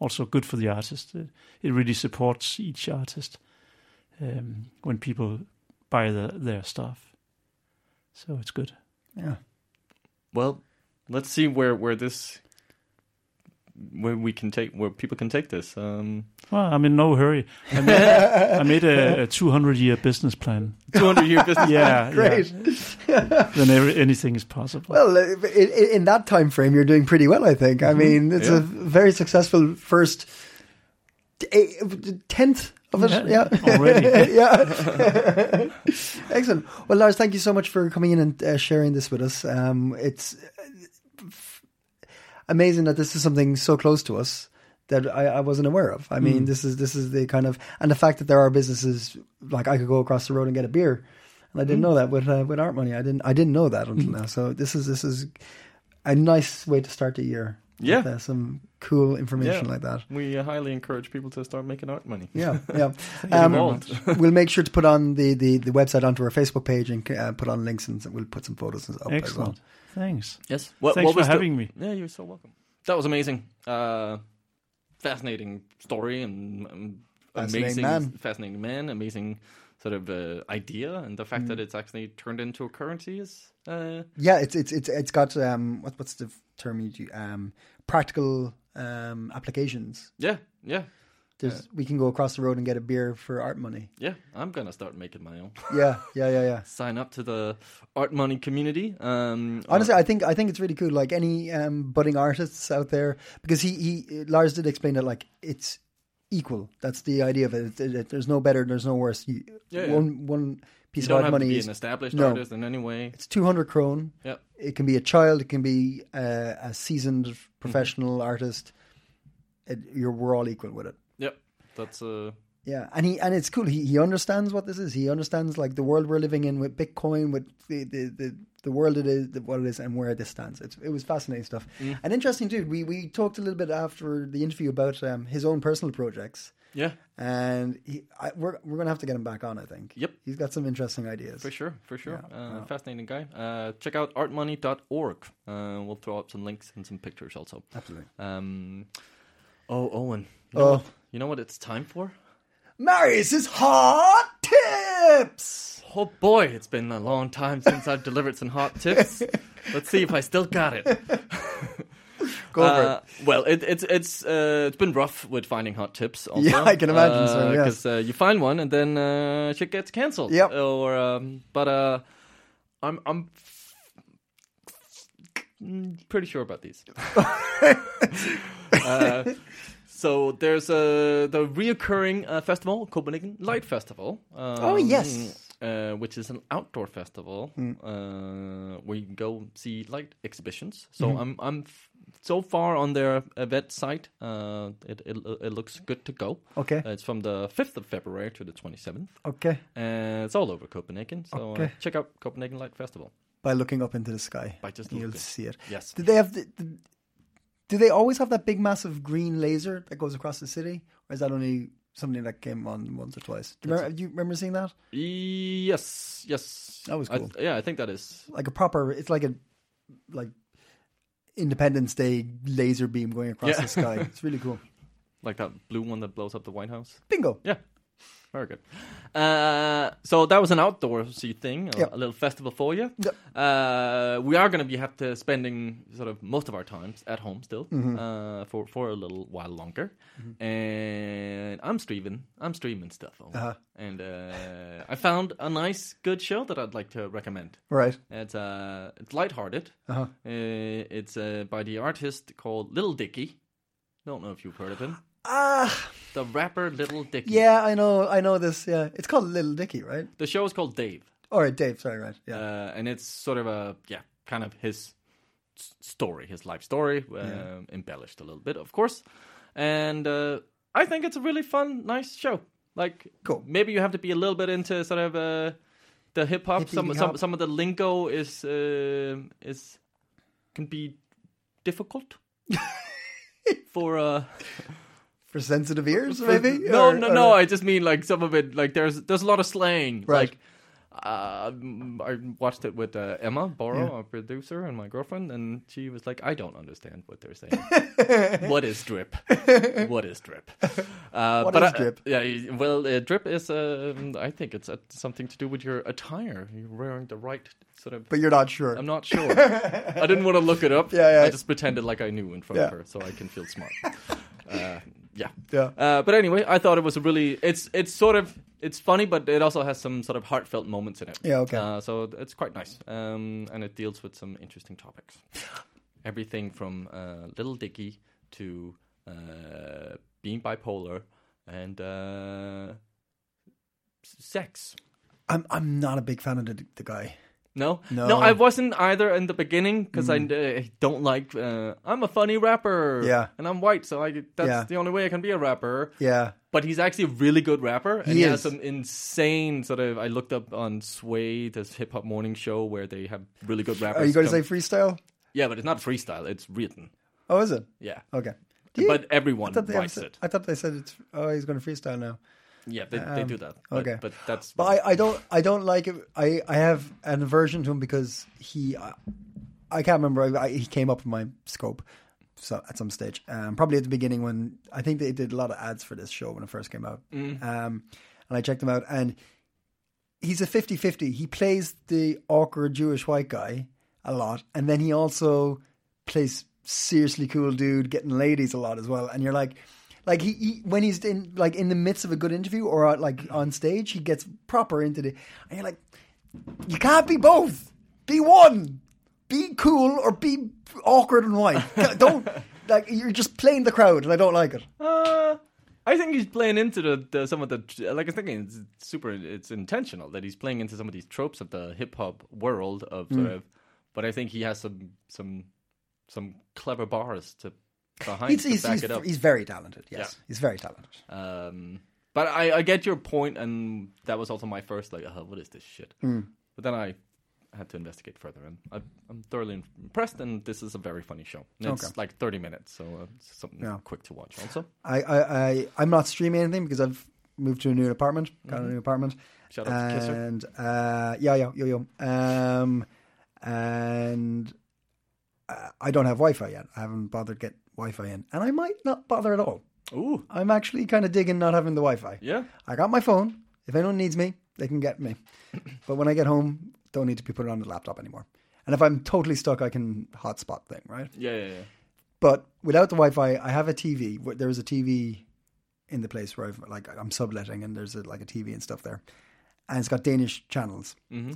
Also good for the artist. It, it really supports each artist um, when people buy the, their stuff. So it's good. Yeah. Well, let's see where where this where we can take where people can take this. Um, Well, I'm in no hurry. I made, I made a, a 200 year business *laughs* plan. 200 year business. Yeah, Great. yeah. Then every, anything is possible. Well, uh, i- i- in that time frame, you're doing pretty well, I think. I mean, it's a very successful first t- eight- tenth of it. Yeah. already. *laughs* yeah. *laughs* Excellent. Well, Lars, thank you so much for coming in and uh, sharing this with us. Um, it's uh, f- amazing that this is something so close to us that I, I wasn't aware of. I Mm. mean, this is this is the kind of and the fact that there are businesses like I could go across the road and get a beer, and I Mm. didn't know that with uh, with art money. I didn't I didn't know that until now. So this is this is a nice way to start the year. Yeah. with, uh, some cool information Yeah. like *laughs* that. We uh, highly encourage people to start making art money. Yeah, yeah. Um, involved. *laughs* we'll make sure to put on the, the, the website onto our Facebook page and uh, put on links and we'll put some photos and up as well. Excellent. Thanks. Yes. What, Thanks what for was the- having me. Yeah, you're so welcome. That was amazing. Uh, fascinating story and um, Fascinating amazing, man. fascinating man, amazing sort of uh, idea, and the Mm. fact that it's actually turned into a currency is. Uh, Yeah, it's it's it's it's got um what what's the f- term you do um practical um applications. yeah, yeah, There's we can go across the road and get a beer for art money. yeah. I'm gonna start making my own. *laughs* Yeah, yeah, yeah, yeah. Sign up to the art money community. Um, or- Honestly, I think I think it's really cool. Like any um, budding artists out there, because he, he Lars did explain that like it's equal. That's the idea of it. It- it- it- there's no better, there's no worse. You, Yeah, yeah. one one piece you of art don't have money to be is an established No. artist in any way. it's 200 krone. Yeah. It can be a child, it can be uh, a seasoned professional artist. It, you're, we're all equal with it. Yep. That's uh Yeah, and he and it's cool. He he understands what this is. He understands like the world we're living in with Bitcoin, with the the the, the world it is, the, what it is, and where this stands. It's, it was fascinating stuff and interesting too. We we talked a little bit after the interview about um, his own personal projects, yeah, and he, I, we're we're gonna have to get him back on. I think. Yep. he's got some interesting ideas. for sure, for sure. uh, Fascinating guy. Uh, check out artmoney.org. Uh, we'll throw up some links and some pictures also. Absolutely. Um, oh, Owen. You know, Oh. what, you know what it's time for? Marius' hot tips. Oh boy, it's been a long time since I've delivered some hot tips. Let's see if I still got it. Go for Uh, well, it, it's it's uh, it's been rough with finding hot tips. Also. Yeah, I can imagine so, yes. because uh, you find one and then uh, shit gets cancelled. Yep. Or um, but uh, I'm I'm pretty sure *laughs* about these. uh, so there's uh, the reoccurring uh, festival, Copenhagen Light Festival. Oh, yes. uh, which is an outdoor festival Hmm. uh, where you can go see light exhibitions. So Mm-hmm. I'm I'm f- so far on their event site. Uh, it, it it looks good to go. Okay. Uh, it's from the 5th of February to the 27th. it. Okay. Uh, it's all over Copenhagen. So uh, Okay. check out Copenhagen Light Festival. By looking up into the sky, By just you'll looking. see it. Yes. Do they have? The, the, do they always have that big, massive green laser that goes across the city, or is that only something that came on once or twice? Do you remember, do you remember seeing that? Yes, yes. That was I- cool. yeah, I think that is. Like a proper. It's like a like Independence Day laser beam going across Yeah. the *laughs* sky. It's really cool. Like that blue one that blows up the White House. Bingo. Yeah. Very good. Uh, so that was an outdoorsy thing, a, Yep. a little festival for you. Yep. Uh, we are going to be have to spending sort of most of our times at home still Mm-hmm. uh, for for a little while longer, and I'm streaming. I'm streaming stuff, over. Uh-huh. and uh, I found a nice, good show that I'd like to recommend. Right. It's uh, it's lighthearted. Uh-huh. Uh, it's uh, by the artist called Little Dicky. Don't know if you've heard of him. Ah, The rapper Little Dicky. yeah, I know, I know this. Yeah, it's called Little Dicky, right? The show is called Dave, All right, Dave. Sorry, right? Yeah, uh, and it's sort of a yeah, kind of his s- story, his life story, um, embellished a little bit, of course. And uh, I think it's a really fun, nice show. Like, Cool. Maybe you have to be a little bit into sort of uh, the hip hop. Hippie Some some hop. some of the lingo is um is can be *laughs* difficult for uh for sensitive ears, for- maybe. No, Or- no, or- no. I just mean like some of it. Like there's there's a lot of slang. Right. Like uh, I watched it with uh, Emma Borrow, our producer, and my girlfriend, and she was like, "I don't understand what they're *laughs* saying. what is drip? What is drip? Uh, What but is I- drip? Yeah. Well, uh, drip is. Um, I think it's uh, something to do with your attire. You're wearing the right sort of. but you're not sure. I'm not sure. I didn't want to look it *laughs* up. Yeah, yeah. I just pretended like I knew in front of Yeah. her, so I can feel *laughs* smart. uh, yeah. Yeah. Uh, but anyway, I thought it was a really. It's it's sort of it's funny, but it also has some sort of heartfelt moments in it. Yeah, okay. Uh, so it's quite nice, um, and it deals with some interesting *laughs* topics. Everything from uh, Little Dicky to uh, being bipolar and uh, s- sex. I'm I'm not a big fan of the, the guy. No? No. Mm. I wasn't either in the beginning because I uh, don't like. Uh, I'm a funny rapper. Yeah. and I'm white, so I that's Yeah. the only way I can be a rapper. Yeah, But he's actually a really good rapper, and he, He has is. some insane sort of. I looked up on Sway, this hip hop morning show where they have really good rappers. are you going to come- say freestyle? Yeah, but it's not freestyle; it's written. Oh, is it? Yeah, Okay. Do you- but everyone I thought, they writes said, it. I thought they said it's. Oh, he's going to freestyle now. Yeah, they, they do that. But, Um, okay. but that's But I, I don't I don't like it. I, I have an aversion to him because he I, I can't remember. I, I, he came up in my scope so at some stage, um, probably at the beginning when I think they did a lot of ads for this show when it first came out. Um, and I checked him out, and he's a 50-50. He plays the awkward Jewish white guy a lot, and then he also plays seriously cool dude getting ladies a lot as well. And you're like, like he, he when he's in like in the midst of a good interview or uh, like on stage, he gets proper into the, and you're like, you can't be both. Be one. Be cool or be awkward and white. *laughs* Don't like you're just playing the crowd, and I don't like it. Uh, I think he's playing into the, the some of the like I think it's super it's intentional that he's playing into some of these tropes of the hip hop world of Mm. sort of, but I think he has some some some clever bars to behind He's to he's, back he's, it up. he's very talented. Yes, Yeah. he's very talented. Um, but I, I get your point, and that was also my first like, oh, what is this shit? Hmm. But then I had to investigate further, and I, I'm thoroughly impressed. And this is a very funny show. And It's Okay. like 30 minutes, so uh, it's something Yeah. quick to watch. Also, I, I, I I'm not streaming anything because I've moved to a new apartment. Got a new apartment. Mm-hmm. Shout out to Kisser. And uh, yeah, yeah, yo, yo. Um, and uh, I don't have Wi-Fi yet. I haven't bothered get Wi-Fi in, and I might not bother at all. ooh, I'm actually kind of digging not having the Wi-Fi. yeah. I got my phone. If anyone needs me, they can get *coughs* me. But when I get home, don't need to be put on the laptop anymore. And if I'm totally stuck, I can hotspot thing, right? Yeah, yeah, yeah. But without the Wi-Fi, I have a TV. Wh- There is a TV in the place where I've, like I'm subletting, and there's a, like a TV and stuff there, and it's got Danish channels, mm-hmm.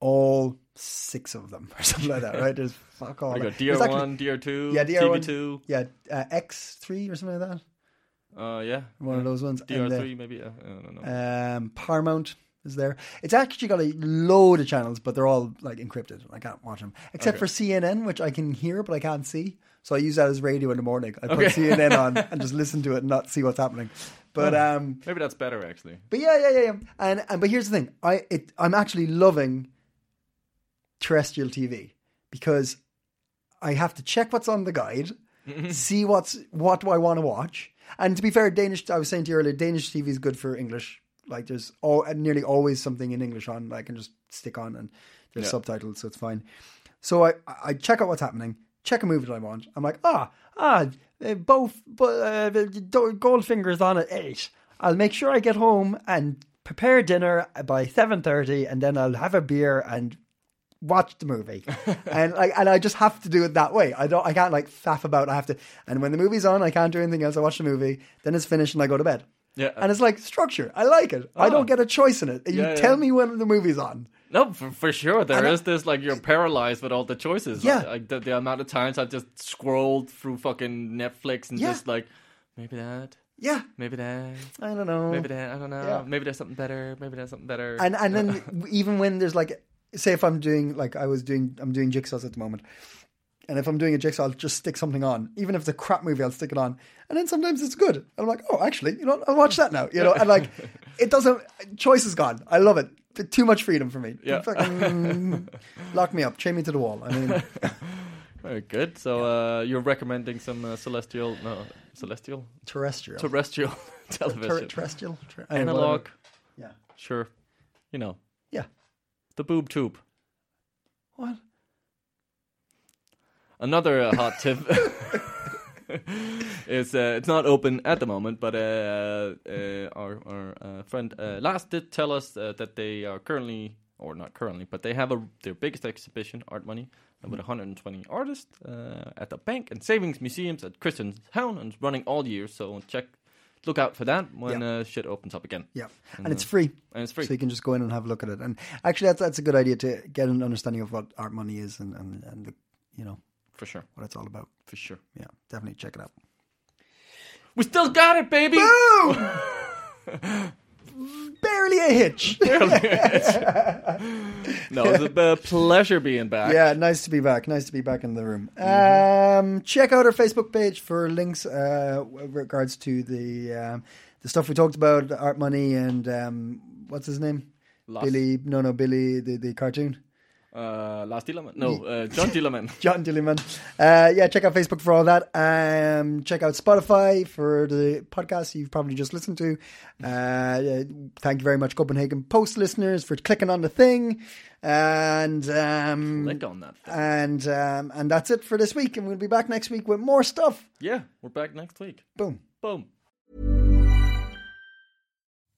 all six of them *laughs* or something like that. Right? There's fuck all. I got that. DR1, Exactly. DR2, yeah, DR1, TV2, yeah, uh, X3 or something like that. uh, yeah, One of those ones. And, uh, DR3 maybe. Uh, I don't know. Um, Paramount is there. It's actually got a load of channels, but they're all like encrypted. and I can't watch them except for CNN, which I can hear but I can't see. So I use that as radio in the morning. I put CNN on and just listen to it and not see what's happening. But um, maybe that's better actually. but yeah, yeah, yeah, yeah. And, and but here's the thing: I it, I'm actually loving terrestrial TV because I have to check what's on the guide, see what's what do I want to watch. And to be fair, Danish. I was saying to you earlier, Danish TV is good for English. Like there's all, nearly always something in English on. I can just stick on and there's Yeah. subtitles, so it's fine. So I I check out what's happening. Check a movie that I want. I'm like, ah, ah, eh, both, but uh, the- the Goldfinger's on at eight. I'll make sure I get home and prepare dinner by seven thirty, and then I'll have a beer and watch the *laughs* movie, and like, and I just have to do it that way. I don't, I can't like faff about. I have to, and when the movie's on, I can't do anything else. I watch the movie, then it's finished, and I go to bed. Yeah. and it's like structure. I like it. I don't get a choice in it. You Uh, oh. Yeah, yeah. tell me when the movie's on. No, for, for sure. There I- is this like you're paralyzed with all the choices. Yeah. Like, like, the, the amount of times I've just scrolled through fucking Netflix and Yeah. just like maybe that, Yeah, maybe that, I don't know. maybe that. I don't know. Yeah. Maybe there's something better. Maybe there's something better. *laughs* and and then even when there's like say if i'm doing like i was doing i'm doing jigsaws at the moment and if i'm doing a jigsaw i'll just stick something on even if it's a crap movie i'll stick it on and then sometimes it's good and i'm like oh actually you know what, i'll watch that now you know and *laughs* like it doesn't choice is gone i love it T- too much freedom for me Yeah. Fucking *laughs* lock me up chain me to the wall i mean Very good. So uh, you're recommending some uh, celestial, no, celestial, terrestrial *laughs* terrestrial Ter- television, terrestrial Ter- uh, analog. whatever. yeah Sure, you know yeah the boob tube. what Another uh, hot tip *laughs* is uh, it's not open at the moment, but uh, uh, our our uh, friend uh, Lars did tell us uh, that they are currently, or not currently, but they have a their biggest exhibition, Art Money, uh, Hmm. with 120 artists uh, at the bank and savings museums at Christianshavn, and it's running all year. So check, look out for that when uh, shit opens up again. Yeah, and it's free. and it's free. so you can just go in and have a look at it. And actually, that's that's a good idea to get an understanding of what art money is and and, and the, you know for sure, what it's all about. for sure. Yeah, definitely check *laughs* it out. We still got it, baby. Barely a hitch. No, it's a uh, pleasure being back. Mm-hmm. yeah, nice to be back. Nice to be back in the room. Um, check out our Facebook page for links uh, with regards to the um, the stuff we talked about, art money, and um, what's his name, Lars. Billy. No, no, Billy, the the cartoon. Uh, Lars Dillerman. No, uh, John *laughs* Dillerman. John Dilliman. Uh, yeah, check out Facebook for all that. Um, check out Spotify for the podcast you've probably just listened to. Uh, yeah, thank you very much, Copenhagen Post listeners, for clicking on the thing. And um, Click on that thing. And um, and that's it for this week. And we'll be back next week with more stuff. Yeah, we're back next week. Boom. Boom.